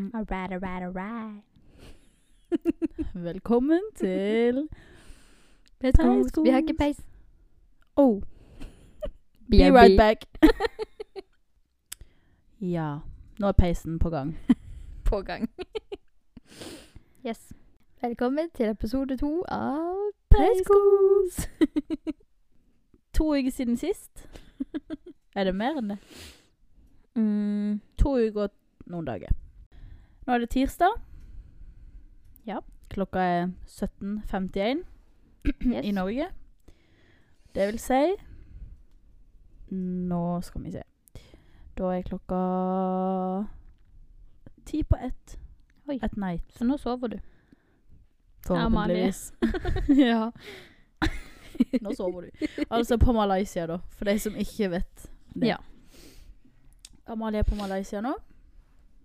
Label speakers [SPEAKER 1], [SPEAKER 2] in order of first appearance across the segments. [SPEAKER 1] Mm.
[SPEAKER 2] Alright, alright, alright.
[SPEAKER 1] Velkommen til
[SPEAKER 2] Peiskos. Vi har ikke
[SPEAKER 1] Peiskos.
[SPEAKER 2] peis.
[SPEAKER 1] Oh, be right back. ja, nå er peisen på gang.
[SPEAKER 2] På gang. yes. Velkommen til episode to av Peiskos.
[SPEAKER 1] To uker siden sist. Er det mer enn det?
[SPEAKER 2] Mm.
[SPEAKER 1] To uker og noen dager. Nå er det tirsdag.
[SPEAKER 2] Ja.
[SPEAKER 1] Klokka er 17.51
[SPEAKER 2] Yes.
[SPEAKER 1] i Norge. Det vil si Nå skal vi se. Da er klokka ti på ett.
[SPEAKER 2] Oi.
[SPEAKER 1] At night.
[SPEAKER 2] Så nå sover du.
[SPEAKER 1] Forhåpentligvis.
[SPEAKER 2] ja.
[SPEAKER 1] Nå sover du. Altså på Malaysia, da. For de som ikke vet det.
[SPEAKER 2] Ja.
[SPEAKER 1] Amalie er på Malaysia nå.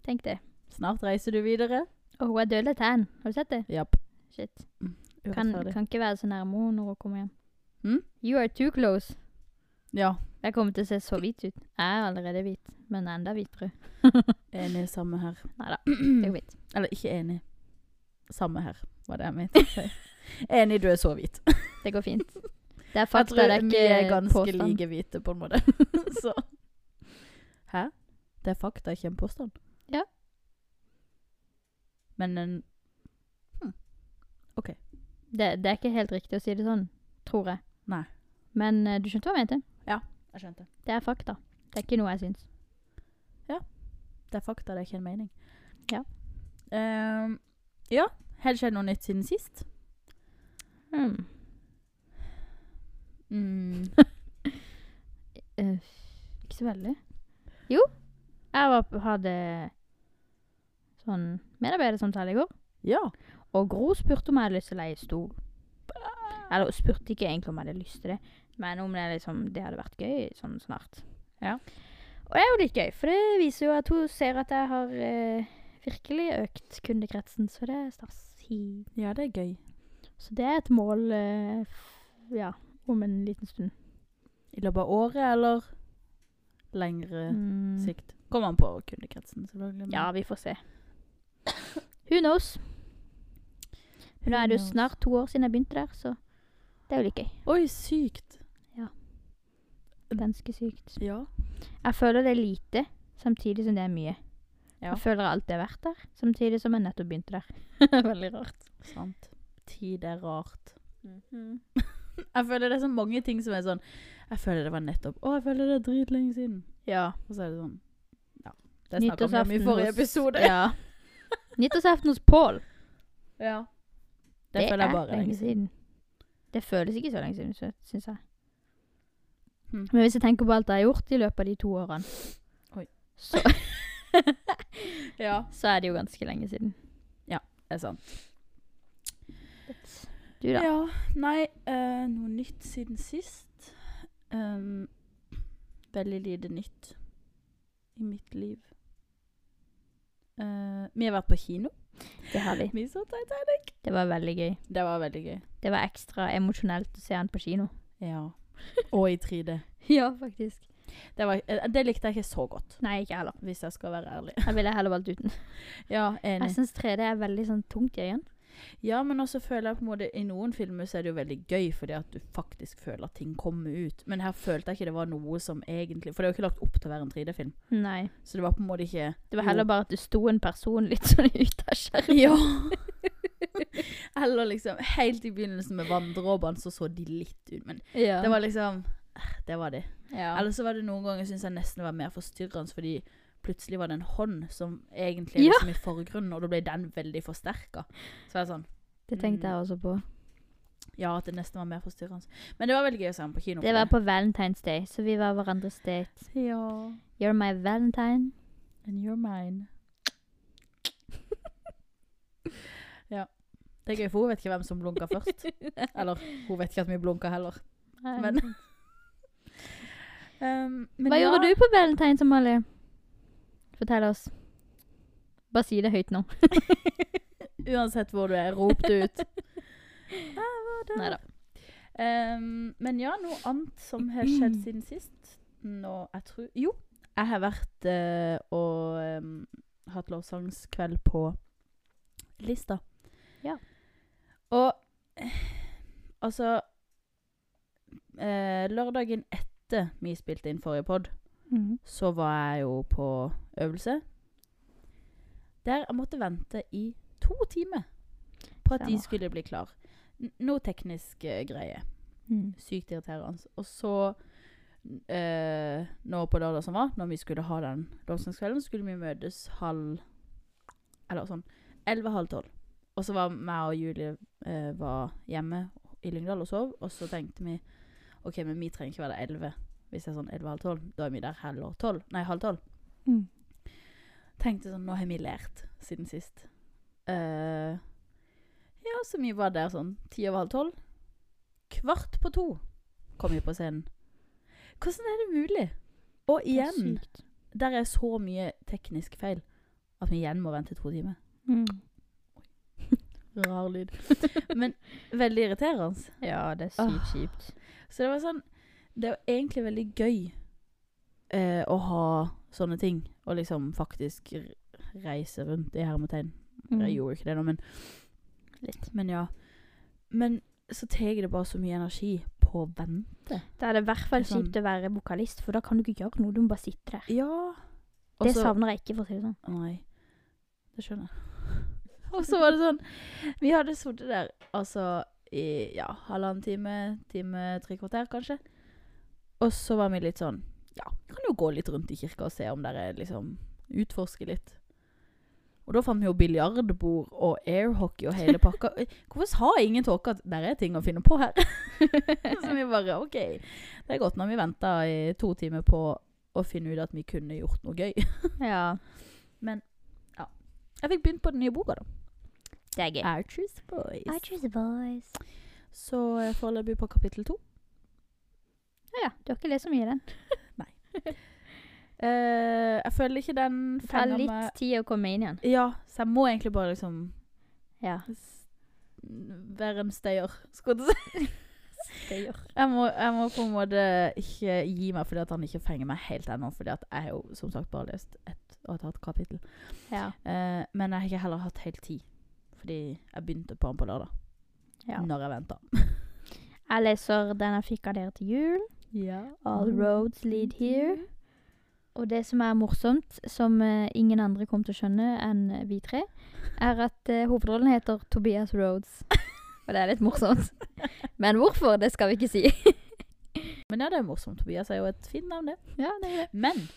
[SPEAKER 2] Tenk det.
[SPEAKER 1] Snart reiser du videre.
[SPEAKER 2] Og hun er dødelig tan. Har du sett det?
[SPEAKER 1] Japp.
[SPEAKER 2] Shit. Kan,
[SPEAKER 1] Urettferdig.
[SPEAKER 2] kan ikke være så nærme henne når hun kommer hjem.
[SPEAKER 1] Mm?
[SPEAKER 2] You are too close.
[SPEAKER 1] Ja.
[SPEAKER 2] Jeg kommer til å se så hvit ut. Jeg er allerede hvit, men enda hvitere.
[SPEAKER 1] Enig samme her.
[SPEAKER 2] Neida, det er hvit.
[SPEAKER 1] Eller ikke enig. Samme her, var det jeg mente å si. Enig, du er så hvit.
[SPEAKER 2] Det går fint. Det er
[SPEAKER 1] Jeg
[SPEAKER 2] fakta,
[SPEAKER 1] tror
[SPEAKER 2] det er
[SPEAKER 1] vi er
[SPEAKER 2] ikke
[SPEAKER 1] ganske
[SPEAKER 2] påstand.
[SPEAKER 1] like hvite, på en måte. så Hæ? Det er fakta, ikke en påstand.
[SPEAKER 2] Ja.
[SPEAKER 1] Men eh, en
[SPEAKER 2] Det, det er ikke helt riktig å si det sånn, tror jeg.
[SPEAKER 1] Nei.
[SPEAKER 2] Men eh, du skjønte hva jeg mente?
[SPEAKER 1] Jeg skjønte.
[SPEAKER 2] Det er fakta. Det er ikke noe jeg syns.
[SPEAKER 1] Det er fakta, det er ikke en mening.
[SPEAKER 2] Ja.
[SPEAKER 1] Ehm, ja. Har det skjedd noe nytt siden sist? Hmm.
[SPEAKER 2] Mm.
[SPEAKER 1] Mm.
[SPEAKER 2] Eh, ikke så veldig. Jo, jeg var, hadde sånn medarbeidersamtale i går,
[SPEAKER 1] Ja.
[SPEAKER 2] og Gro spurte om jeg hadde lyst til å leie stol. Eller hun spurte ikke egentlig om jeg hadde lyst til det, men om det, liksom, det hadde vært gøy sånn snart.
[SPEAKER 1] Ja.
[SPEAKER 2] Og det er jo litt gøy, for det viser jo at hun ser at jeg har eh, virkelig økt kundekretsen, så det er stas. Hi.
[SPEAKER 1] Ja, det er gøy.
[SPEAKER 2] Så det er et mål eh, f- ja, om en liten stund.
[SPEAKER 1] I løpet av året, eller lengre
[SPEAKER 2] Mm.
[SPEAKER 1] sikt? Kommer an på kundekretsen, selvfølgelig. men-
[SPEAKER 2] Ja, vi får se. Who knows? Nå er det jo snart to år siden jeg begynte der, så det er jo litt gøy.
[SPEAKER 1] Oi, sykt.
[SPEAKER 2] Ganske sykt.
[SPEAKER 1] Ja.
[SPEAKER 2] Jeg føler det er lite, samtidig som det er mye.
[SPEAKER 1] Ja.
[SPEAKER 2] Jeg føler alt jeg har vært der, samtidig som jeg nettopp begynte der. Veldig rart.
[SPEAKER 1] Sant. Tid er rart. Mhm. Jeg føler det er så mange ting som er sånn Jeg føler det var nettopp Å, jeg føler det er dritlenge siden.
[SPEAKER 2] Ja.
[SPEAKER 1] Og så er det sånn Ja. Det snakka vi om i forrige
[SPEAKER 2] hos-
[SPEAKER 1] episode.
[SPEAKER 2] Ja. Nyttårsaften hos Pål.
[SPEAKER 1] Ja. Det, føler jeg bare.
[SPEAKER 2] er lenge siden. Det føles ikke så lenge siden, sy- syns jeg.
[SPEAKER 1] Mm.
[SPEAKER 2] Men hvis jeg tenker på alt jeg har gjort i løpet av de to årene,
[SPEAKER 1] Oi.
[SPEAKER 2] Så,
[SPEAKER 1] Ja.
[SPEAKER 2] så er det jo ganske lenge siden.
[SPEAKER 1] Det er sant.
[SPEAKER 2] Du, da?
[SPEAKER 1] Ja. Nei, eh, noe nytt siden sist. Um, veldig lite nytt i mitt liv. Eh, vi har vært på kino.
[SPEAKER 2] Det har vi.
[SPEAKER 1] Vi så Titanic.
[SPEAKER 2] Det var veldig gøy.
[SPEAKER 1] Det var veldig gøy.
[SPEAKER 2] Det var ekstra emosjonelt å se han på kino.
[SPEAKER 1] Ja. Og i 3D.
[SPEAKER 2] ja, faktisk.
[SPEAKER 1] Det, var, eh, det likte jeg ikke så godt,
[SPEAKER 2] Nei, ikke heller.
[SPEAKER 1] hvis jeg skal være ærlig.
[SPEAKER 2] Jeg ville heller valgt uten.
[SPEAKER 1] Ja,
[SPEAKER 2] Jeg
[SPEAKER 1] enig.
[SPEAKER 2] syns 3D er veldig sånn tungt i øynene.
[SPEAKER 1] Ja, men også føler jeg på en måte I noen filmer så er det jo veldig gøy fordi at du faktisk føler at ting kommer ut. Men her følte jeg ikke det var noe som egentlig For det er jo ikke lagt opp til å være en 3D-film.
[SPEAKER 2] Nei.
[SPEAKER 1] Så det var på en måte ikke
[SPEAKER 2] Det var heller bare at det sto en person litt sånn ut av skjermen.
[SPEAKER 1] Ja. Eller liksom Helt i begynnelsen med vanndråpene så så de litt ut, men
[SPEAKER 2] Ja.
[SPEAKER 1] det var liksom eh, Det var det.
[SPEAKER 2] ja.
[SPEAKER 1] Eller så var det noen ganger synes jeg nesten var mer forstyrrende fordi plutselig var det en hånd som egentlig er
[SPEAKER 2] Ja.
[SPEAKER 1] liksom i forgrunnen, og da ble den veldig forsterka. Så var jeg sånn
[SPEAKER 2] Det tenkte jeg også på.
[SPEAKER 1] Ja, at det nesten var mer forstyrrende. Men det var veldig gøy å se den på kino.
[SPEAKER 2] Det var på Valentine's Day, så vi var hverandres date.
[SPEAKER 1] Ja.
[SPEAKER 2] You're my valentine.
[SPEAKER 1] And you're mine. ja. Det er gøy, for hun vet ikke hvem som blunka først. Eller hun vet ikke at vi blunka heller. Men- Um, men
[SPEAKER 2] Hva
[SPEAKER 1] ja.
[SPEAKER 2] gjorde du på valentines, Amalie? Fortell oss. Bare si det høyt nå.
[SPEAKER 1] Uansett hvor du er, rop det ut. Jeg var der.
[SPEAKER 2] Neida.
[SPEAKER 1] Ehm, men ja, noe annet som har skjedd siden sist. Nå, jeg tror Jo, jeg har vært eh, og ehm, hatt lovsangskveld på Lista.
[SPEAKER 2] Ja.
[SPEAKER 1] Og eh, altså eh, Lørdagen etter vi spilte inn forrige pod, så var jeg jo på øvelse. Der jeg måtte vente i to timer på at de
[SPEAKER 2] Stemmer.
[SPEAKER 1] skulle bli klar. N noe teknisk eh, greie.
[SPEAKER 2] Mm.
[SPEAKER 1] Sykt irriterende. Og så eh, nå på lørdag som var, når vi skulle ha den lovsangskvelden, skulle vi møtes halv Eller sånn elleve-halv tolv. Og så var meg og Julie eh, var hjemme i Lyngdal og sov, og så tenkte vi OK, men vi trenger ikke være der elleve. Hvis det er sånn elleve-halv tolv, da er vi der heller tolv. Nei, halv tolv.
[SPEAKER 2] Mm.
[SPEAKER 1] Tenkte sånn, nå har vi lært siden sist. Eh, ja, så vi var der sånn ti over halv tolv. Kvart på to kom vi på scenen. Hvordan er det mulig? Og
[SPEAKER 2] Det er
[SPEAKER 1] igjen,
[SPEAKER 2] sykt.
[SPEAKER 1] der er så mye teknisk feil at vi igjen må vente to timer.
[SPEAKER 2] Mm.
[SPEAKER 1] Rar lyd. Men veldig irriterende.
[SPEAKER 2] Ja, det er sykt
[SPEAKER 1] Åh.
[SPEAKER 2] kjipt.
[SPEAKER 1] Så det var sånn Det er jo egentlig veldig gøy eh, å ha sånne ting. Og liksom faktisk r- reise rundt i hermetegn. Jeg gjorde ikke det nå, men
[SPEAKER 2] Mm. litt.
[SPEAKER 1] Men ja. Men så tar det bare så mye energi på å vente.
[SPEAKER 2] Det er det i hvert fall
[SPEAKER 1] Det er sånn-
[SPEAKER 2] kjipt å være vokalist, for da kan du ikke gjøre noe, du må bare sitte der.
[SPEAKER 1] Ja.
[SPEAKER 2] Det savner jeg ikke, for å si det sånn.
[SPEAKER 1] Nei. Det skjønner jeg. Og så var det sånn Vi hadde sittet der altså i ja, halvannen time, time, tre kvarter kanskje. Og så var vi litt sånn Ja, vi kan jo gå litt rundt i kirka og se om dere liksom utforsker litt. Og da fant vi jo biljardbord og airhockey og hele pakka. Hvorfor sa ingen til oss at der er ting å finne på her? så vi bare OK. Det er godt når vi venta i to timer på å finne ut at vi kunne gjort noe gøy.
[SPEAKER 2] Ja,
[SPEAKER 1] Jeg fikk begynt på den nye boka, da.
[SPEAKER 2] det er gøy.
[SPEAKER 1] I Choose Boys.
[SPEAKER 2] I choose a voice.
[SPEAKER 1] Så eh, foreløpig på kapittel to.
[SPEAKER 2] Ja, ja, du har ikke lest så mye i den.
[SPEAKER 1] Eh, jeg føler ikke den
[SPEAKER 2] Det tar
[SPEAKER 1] fenger meg
[SPEAKER 2] litt tid å komme inn igjen.
[SPEAKER 1] Ja, så jeg må egentlig bare liksom
[SPEAKER 2] Ja.
[SPEAKER 1] s- være en stayer, skulle jeg til å si.
[SPEAKER 2] Det gjør.
[SPEAKER 1] Jeg må, jeg må på en måte ikke gi meg fordi at han ikke fenger meg helt ennå. Fordi at jeg har jo som sagt bare lest ett og et halvt kapittel.
[SPEAKER 2] Ja.
[SPEAKER 1] Eh, men jeg har ikke heller hatt helt tid. Fordi jeg begynte på den på lørdag.
[SPEAKER 2] ja.
[SPEAKER 1] Når jeg venta.
[SPEAKER 2] Jeg leser den jeg fikk av dere til jul, All
[SPEAKER 1] Mm.
[SPEAKER 2] Roads Lead Here. Og det som er morsomt, som eh, ingen andre kommer til å skjønne enn eh, vi tre, er at eh, hovedrollen heter Tobias Rhodes. Og det er litt morsomt. Men hvorfor, det skal vi ikke si.
[SPEAKER 1] Men ja, det er jo morsomt. Tobias er jo et fint navn, det.
[SPEAKER 2] Ja, det er det.
[SPEAKER 1] Men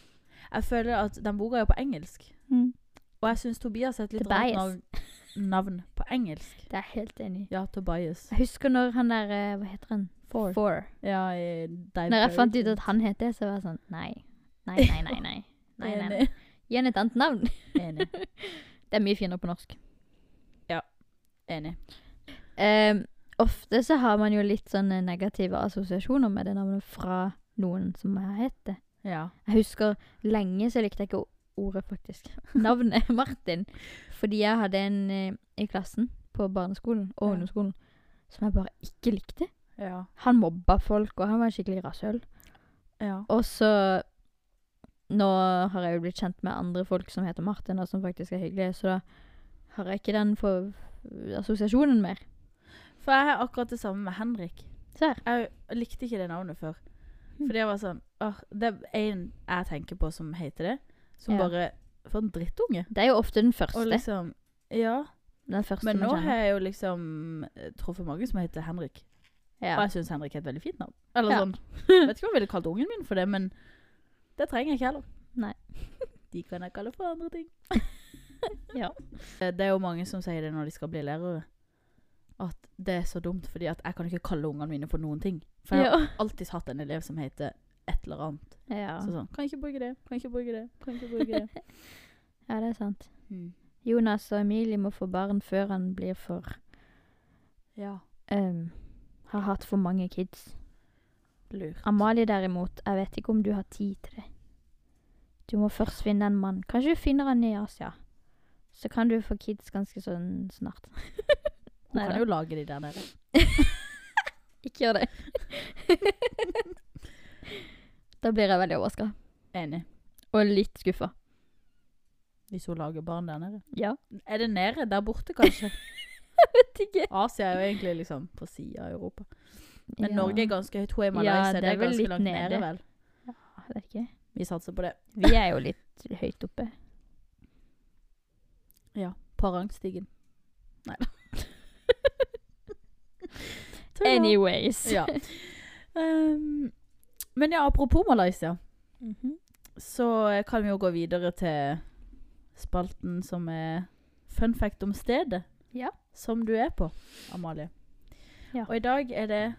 [SPEAKER 1] jeg føler at den boka er jo på engelsk.
[SPEAKER 2] Mm.
[SPEAKER 1] Og jeg syns Tobias er et litt rart
[SPEAKER 2] Tobias.
[SPEAKER 1] navn, navn på engelsk.
[SPEAKER 2] Det er jeg helt enig i.
[SPEAKER 1] Ja, Tobias.
[SPEAKER 2] Jeg husker når han der eh, Hva heter han?
[SPEAKER 1] Four. Ja, i Die
[SPEAKER 2] Når jeg
[SPEAKER 1] Buried.
[SPEAKER 2] fant ut at han het det, så var jeg sånn Nei. Nei, nei, nei. nei. nei, nei, nei.
[SPEAKER 1] Enig.
[SPEAKER 2] Gi han et annet navn.
[SPEAKER 1] Enig.
[SPEAKER 2] Det er mye finere på norsk.
[SPEAKER 1] Enig.
[SPEAKER 2] Ehm, ofte så har man jo litt sånne negative assosiasjoner med det navnet fra noen som har hett det.
[SPEAKER 1] Ja.
[SPEAKER 2] Jeg husker lenge så likte jeg ikke ordet, faktisk. Navnet Martin. Fordi jeg hadde en eh, i klassen på barneskolen og
[SPEAKER 1] Ja.
[SPEAKER 2] ungdomsskolen som jeg bare ikke likte.
[SPEAKER 1] Ja.
[SPEAKER 2] Han mobba folk, og han var en skikkelig rasshøl.
[SPEAKER 1] Ja.
[SPEAKER 2] Og så Nå har jeg jo blitt kjent med andre folk som heter Martin, og som faktisk er hyggelige, så da har jeg ikke den for assosiasjonen mer.
[SPEAKER 1] For jeg har akkurat det samme med Henrik.
[SPEAKER 2] Se her.
[SPEAKER 1] Jeg likte ikke det navnet før.
[SPEAKER 2] Hm.
[SPEAKER 1] Fordi jeg var sånn «Åh, Det er en jeg tenker på som heter det, som
[SPEAKER 2] Ja.
[SPEAKER 1] bare For en drittunge.
[SPEAKER 2] Det er jo ofte den første.
[SPEAKER 1] Og liksom Ja.
[SPEAKER 2] Den første
[SPEAKER 1] Men nå
[SPEAKER 2] man
[SPEAKER 1] har
[SPEAKER 2] kjenner.
[SPEAKER 1] jeg jo liksom eh, truffet mange som heter Henrik. Og
[SPEAKER 2] Ja.
[SPEAKER 1] jeg syns Henrik er et veldig fint navn. Eller
[SPEAKER 2] Ja.
[SPEAKER 1] sånn. Vet ikke om jeg ville kalt ungen min for det, men det trenger jeg ikke heller.
[SPEAKER 2] Nei.
[SPEAKER 1] De kan jeg kalle for andre ting.
[SPEAKER 2] Ja.
[SPEAKER 1] Eh, Det er jo mange som sier det når de skal bli lærere. At det er så dumt, fordi at jeg kan ikke kalle ungene mine for noen ting. For jeg
[SPEAKER 2] Ja.
[SPEAKER 1] har alltid hatt en elev som heter et eller annet.
[SPEAKER 2] Ja.
[SPEAKER 1] Så sånn, kan ikke bruke det, kan ikke bruke det, kan ikke bruke det.
[SPEAKER 2] ja, det er sant.
[SPEAKER 1] Mm.
[SPEAKER 2] Jonas og Emilie må få barn før han blir for
[SPEAKER 1] Ja,
[SPEAKER 2] ehm, Har hatt for mange kids.
[SPEAKER 1] lurt.
[SPEAKER 2] Amalie derimot, jeg vet ikke om du har tid til det. Du må først finne en mann. Kanskje du finner han i Asia. Så kan du få kids ganske sånn snart.
[SPEAKER 1] Hun
[SPEAKER 2] Neida.
[SPEAKER 1] kan jo lage de der nede.
[SPEAKER 2] Ikke gjør det. da blir jeg veldig overraska.
[SPEAKER 1] Enig.
[SPEAKER 2] Og litt skuffa.
[SPEAKER 1] Hvis hun lager barn der nede.
[SPEAKER 2] Ja.
[SPEAKER 1] Er det nede? Der borte, kanskje?
[SPEAKER 2] Vet ikke.
[SPEAKER 1] Asia er jo egentlig liksom på sida av Europa. Men
[SPEAKER 2] Ja,
[SPEAKER 1] Norge er ganske høyt. Hun er i
[SPEAKER 2] Ja,
[SPEAKER 1] Malaysia. det er
[SPEAKER 2] vel
[SPEAKER 1] ganske
[SPEAKER 2] litt
[SPEAKER 1] langt nede.
[SPEAKER 2] nede.
[SPEAKER 1] vel?
[SPEAKER 2] jeg vet ikke.
[SPEAKER 1] Vi satser på det.
[SPEAKER 2] Vi er jo litt høyt oppe.
[SPEAKER 1] Parangstigen. Nei da.
[SPEAKER 2] Anyways.
[SPEAKER 1] Ja. Ehm, men ja, apropos Malaysia,
[SPEAKER 2] Mhm.
[SPEAKER 1] så eh, kan vi jo gå videre til spalten som er fun fact om stedet.
[SPEAKER 2] Ja.
[SPEAKER 1] Som du er på, Amalie.
[SPEAKER 2] Ja.
[SPEAKER 1] Og i dag er det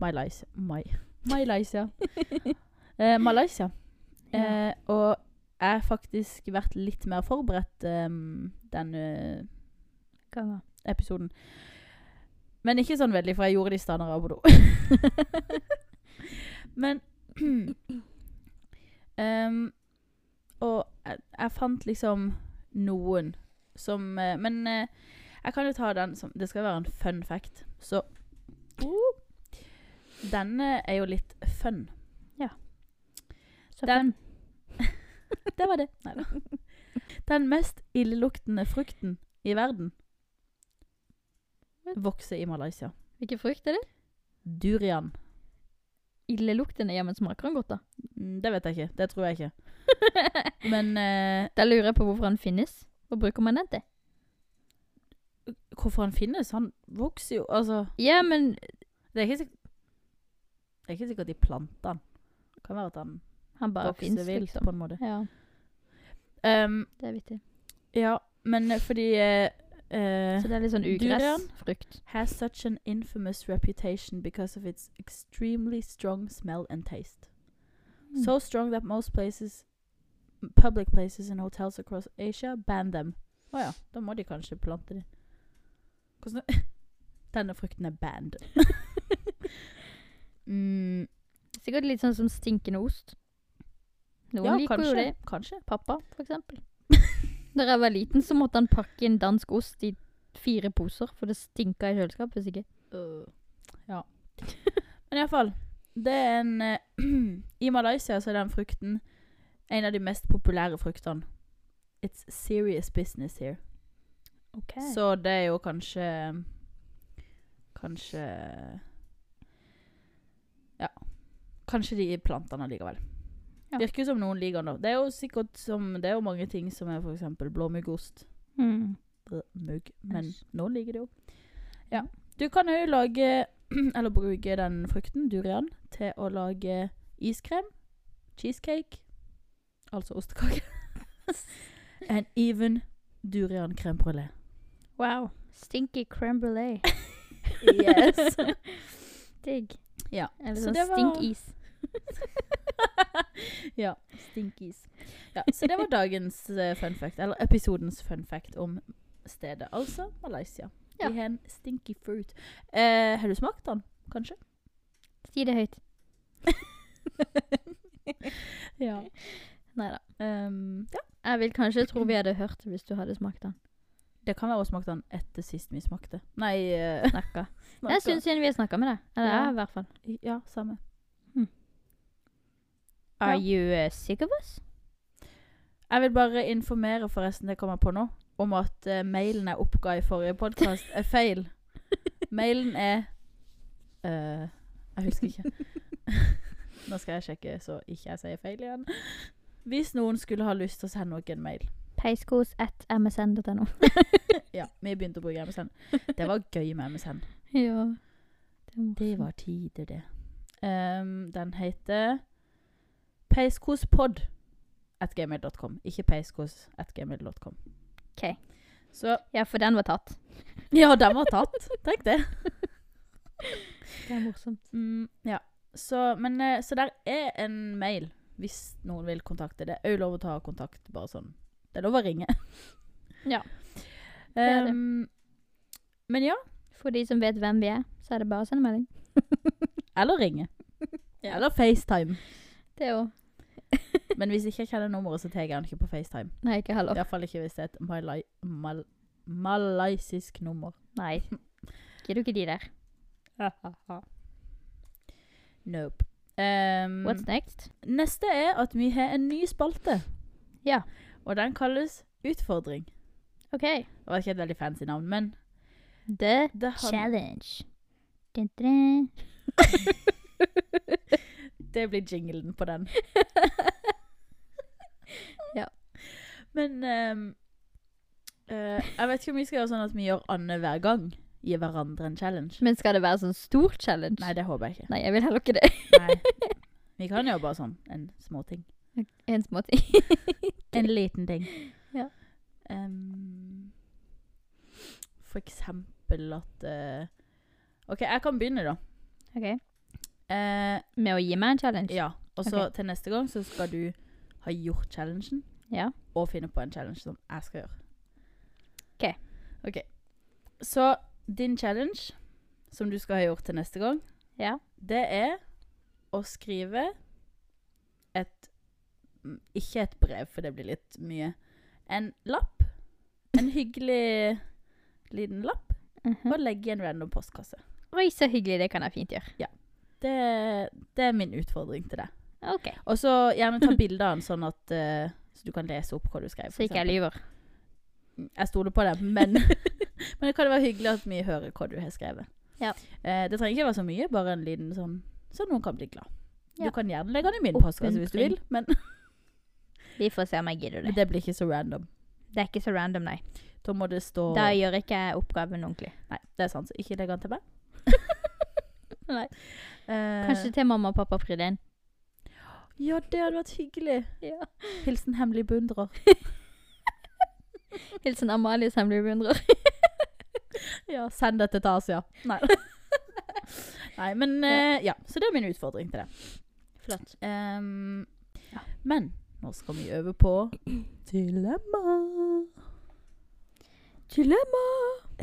[SPEAKER 1] Malaysia. My, Malaysia. Eh, Malaysia.
[SPEAKER 2] ja.
[SPEAKER 1] Eh, og jeg har faktisk vært litt mer forberedt eh, em, denne
[SPEAKER 2] Ganger.
[SPEAKER 1] episoden. Men ikke sånn veldig, for jeg gjorde det i stad når jeg var på do. Men ehm, Og jeg, jeg fant liksom noen som eh, Men eh, jeg kan jo ta den som Det skal være en fun fact. Så Denne er jo litt fun.
[SPEAKER 2] Så
[SPEAKER 1] Den-
[SPEAKER 2] fun.
[SPEAKER 1] Det var det. Neida. Den mest illeluktende frukten i verden vokser i Malaysia.
[SPEAKER 2] Hvilken frukt er det?
[SPEAKER 1] Durian.
[SPEAKER 2] Illeluktende. Ja, men smaker den godt, da?
[SPEAKER 1] Mm, Det vet jeg ikke. Det tror jeg ikke. Men eh,
[SPEAKER 2] Da lurer jeg på hvorfor den finnes. Hva bruker man den til?
[SPEAKER 1] hvorfor han finnes? Han vokser jo Altså,
[SPEAKER 2] Ja, men
[SPEAKER 1] det er ikke sikkert Det er ikke sikkert de planter han. Det kan være at han
[SPEAKER 2] han bare
[SPEAKER 1] vokser
[SPEAKER 2] finnes,
[SPEAKER 1] vilt, på
[SPEAKER 2] liksom.
[SPEAKER 1] en måte.
[SPEAKER 2] Ja,
[SPEAKER 1] Ehm,
[SPEAKER 2] det er vittig.
[SPEAKER 1] ja, men eh, fordi eh, eh,
[SPEAKER 2] Så det er litt sånn
[SPEAKER 1] Durian?
[SPEAKER 2] ugressfrukt.
[SPEAKER 1] Has such an infamous reputation because of its extremely strong smell and taste.
[SPEAKER 2] Hmm.
[SPEAKER 1] So strong that most places Public places and hotels across Asia ban them. Å ja, da må de kanskje plante de. Hvordan Denne frukten er banned. mm,
[SPEAKER 2] Sikkert litt sånn som stinkende ost. Noen
[SPEAKER 1] ja,
[SPEAKER 2] liker
[SPEAKER 1] kanskje.
[SPEAKER 2] jo det.
[SPEAKER 1] Kanskje.
[SPEAKER 2] Pappa, for eksempel. Da jeg var liten, så måtte han pakke en dansk ost i fire poser, for det stinka i kjøleskapet hvis ikke.
[SPEAKER 1] ja. Men iallfall. Det er en eh, I Malaysia så er den frukten en av de mest populære fruktene. It's serious business here.
[SPEAKER 2] Så
[SPEAKER 1] Så det er jo kanskje Kanskje Ja. Kanskje de plantene likevel.
[SPEAKER 2] Ja.
[SPEAKER 1] Virker jo som noen liker den. da. Det er jo sikkert som Det er jo mange ting som er f.eks. blåmuggost.
[SPEAKER 2] mm.
[SPEAKER 1] Brød, Mugg. Men
[SPEAKER 2] Æsj.
[SPEAKER 1] noen liker det jo. Ja. Du kan jo lage Eller bruke den frukten, durian, til å lage iskrem, cheesecake, altså ostekake, and even durian crème brulé.
[SPEAKER 2] Wow. Stinky crème brulé.
[SPEAKER 1] Yes.
[SPEAKER 2] Digg.
[SPEAKER 1] Ja,
[SPEAKER 2] Eller
[SPEAKER 1] så
[SPEAKER 2] sånn
[SPEAKER 1] det var-
[SPEAKER 2] stinkis.
[SPEAKER 1] ja. Stinkis. Ja, så det var dagens eh, fun fact, eller episodens fun fact om stedet, altså Malaysia.
[SPEAKER 2] Ja.
[SPEAKER 1] De har en stinky fruit. Eh, har du smakt den, kanskje?
[SPEAKER 2] Si det høyt.
[SPEAKER 1] Ja.
[SPEAKER 2] Nei da.
[SPEAKER 1] Ehm, ja.
[SPEAKER 2] Jeg vil kanskje tro vi hadde hørt det hvis du hadde smakt den.
[SPEAKER 1] Det kan være hun smakte den etter sist vi smakte. Nei eh,
[SPEAKER 2] Snakka.
[SPEAKER 1] smakte
[SPEAKER 2] Jeg syns vi har snakka med deg. Eller
[SPEAKER 1] Ja.
[SPEAKER 2] jeg, i hvert fall.
[SPEAKER 1] den. Ja, samme. Ja.
[SPEAKER 2] Hm. Are you uh, sick of us?
[SPEAKER 1] Jeg vil bare informere, forresten, det kommer jeg på nå, om at eh, mailen jeg oppga i forrige podkast, er feil. Mailen er eh, Jeg husker ikke. nå skal jeg sjekke så ikke jeg sier feil igjen. Hvis noen skulle ha lyst til å sende noen mail
[SPEAKER 2] Peiskos at msn.no.
[SPEAKER 1] Ja, vi begynte å bruke MSN. Det var gøy med MSN.
[SPEAKER 2] ja.
[SPEAKER 1] Det var tider, det. Ehm, den heter peiskospod at gmail.com. Ikke peiskos at gmail.com.
[SPEAKER 2] Ok.
[SPEAKER 1] Så
[SPEAKER 2] Ja, for den var tatt.
[SPEAKER 1] Ja, den var tatt. Tenk det.
[SPEAKER 2] Det er morsomt.
[SPEAKER 1] Mm, ja. Så, men, eh, så der er en mail hvis noen vil kontakte. Det er jo lov å ta kontakt, bare sånn. Det er lov å ringe.
[SPEAKER 2] Ja. er det.
[SPEAKER 1] Ehm, men ja.
[SPEAKER 2] For de som vet hvem vi er, så er det bare å sende melding.
[SPEAKER 1] Eller ringe.
[SPEAKER 2] Ja.
[SPEAKER 1] Eller FaceTime.
[SPEAKER 2] Det òg.
[SPEAKER 1] Men hvis ikke jeg kjenner nummeret, så tar jeg den ikke på FaceTime.
[SPEAKER 2] Nei, ikke heller.
[SPEAKER 1] Iallfall ikke hvis det er et malai mal malaysisk nummer.
[SPEAKER 2] Nei. Gidder du ikke de der?
[SPEAKER 1] Nope. Ehm,
[SPEAKER 2] Mm. What's next?
[SPEAKER 1] neste er at vi har en ny spalte.
[SPEAKER 2] Ja.
[SPEAKER 1] Og den kalles utfordring.
[SPEAKER 2] OK.
[SPEAKER 1] Det var ikke et veldig fancy navn, men
[SPEAKER 2] The
[SPEAKER 1] det han,
[SPEAKER 2] Challenge. Dun, dun.
[SPEAKER 1] det blir jinglen på den.
[SPEAKER 2] Ja.
[SPEAKER 1] Men ehm, eh, jeg vet ikke om vi skal gjøre sånn at vi gjør Anne hver gang. Gi hverandre en challenge.
[SPEAKER 2] Men skal det være sånn stor challenge?
[SPEAKER 1] Nei, det håper jeg ikke.
[SPEAKER 2] Nei, jeg vil heller ikke det.
[SPEAKER 1] Nei. Vi kan jo bare sånn en småting.
[SPEAKER 2] En småting.
[SPEAKER 1] En liten ting.
[SPEAKER 2] Ja.
[SPEAKER 1] Ehm, for eksempel at eh, OK, jeg kan begynne, da.
[SPEAKER 2] Ok.
[SPEAKER 1] Eh,
[SPEAKER 2] Med å gi meg en challenge?
[SPEAKER 1] ja. Og så
[SPEAKER 2] Ok.
[SPEAKER 1] til neste gang så skal du ha gjort challengen,
[SPEAKER 2] Ja.
[SPEAKER 1] og finne på en challenge som jeg skal gjøre.
[SPEAKER 2] Ok.
[SPEAKER 1] Ok. Så din challenge, som du skal ha gjort til neste gang,
[SPEAKER 2] Ja.
[SPEAKER 1] det er å skrive et mm, Ikke et brev, for det blir litt mye. En lapp. En hyggelig liten lapp.
[SPEAKER 2] Mhm.
[SPEAKER 1] Og legge i en random postkasse.
[SPEAKER 2] Oi, så hyggelig. Det kan jeg fint gjøre.
[SPEAKER 1] Det, det er min utfordring til deg.
[SPEAKER 2] OK.
[SPEAKER 1] Og så gjerne ta bilde av den, sånn at eh, så du kan lese opp hva du skrev. for
[SPEAKER 2] Så ikke jeg
[SPEAKER 1] eksempel.
[SPEAKER 2] lyver.
[SPEAKER 1] jeg stoler på det, men, men det kan være hyggelig at vi hører hva du har skrevet.
[SPEAKER 2] Ja.
[SPEAKER 1] Eh, det trenger ikke være så mye, bare en liten sånn, så noen kan bli glad.
[SPEAKER 2] Ja.
[SPEAKER 1] Du kan gjerne legge den i min
[SPEAKER 2] Oppmuntring.
[SPEAKER 1] postkasse hvis du vil, men
[SPEAKER 2] Vi får se om jeg gidder det.
[SPEAKER 1] det blir ikke så random.
[SPEAKER 2] Det er ikke så random, nei.
[SPEAKER 1] Da må det stå
[SPEAKER 2] Da gjør ikke jeg oppgaven ordentlig.
[SPEAKER 1] Nei, det er sant, så ikke legg den til meg.
[SPEAKER 2] Nei.
[SPEAKER 1] Eh,
[SPEAKER 2] Kanskje til mamma og pappa Fridén.
[SPEAKER 1] Ja, det hadde vært hyggelig.
[SPEAKER 2] Ja.
[SPEAKER 1] Hilsen hemmelig beundrer.
[SPEAKER 2] Hilsen sånn Amalie som blir beundrer.
[SPEAKER 1] Ja, send dette til Asia. Nei. Nei, men eh, ja. Så det er min utfordring til deg.
[SPEAKER 2] Flott.
[SPEAKER 1] Ehm,
[SPEAKER 2] Ja.
[SPEAKER 1] Men nå skal vi øve på dilemma.
[SPEAKER 2] Dilemma!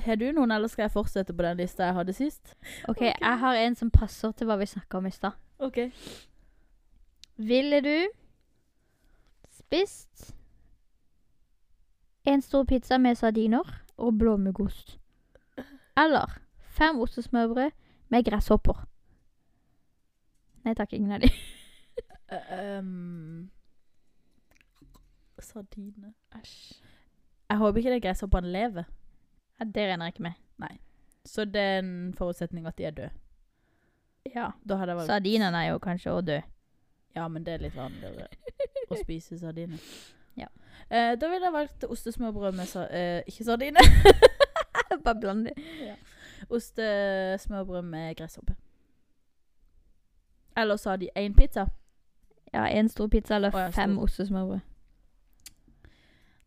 [SPEAKER 1] Har du noen, eller skal jeg fortsette på den lista jeg hadde sist?
[SPEAKER 2] OK, jeg har en som passer til hva vi snakka om i stad.
[SPEAKER 1] Ok.
[SPEAKER 2] Ville du spist en stor pizza med sardiner og blåmuggost? Eller fem ostesmørbrød med gresshopper? Nei takk, ingen av de.
[SPEAKER 1] Sardine. Æsj. Jeg håper ikke det er gresshoppene lever.
[SPEAKER 2] Ja, det regner jeg ikke med.
[SPEAKER 1] Så det er en forutsetning at de er døde.
[SPEAKER 2] Ja.
[SPEAKER 1] Da hadde jeg valgt
[SPEAKER 2] Sardinene er jo kanskje òg døde.
[SPEAKER 1] Ja, men det er litt vanligere å spise sardiner.
[SPEAKER 2] Ja.
[SPEAKER 1] Eh, da ville jeg valgt ostesmørbrød med sa eh, Ikke sardiner.
[SPEAKER 2] Bare bland det.
[SPEAKER 1] Ostesmørbrød med gresshoppe. Eller sa de én pizza?
[SPEAKER 2] Ja, en stor pizza eller
[SPEAKER 1] Å, ja,
[SPEAKER 2] fem
[SPEAKER 1] stor.
[SPEAKER 2] ostesmørbrød.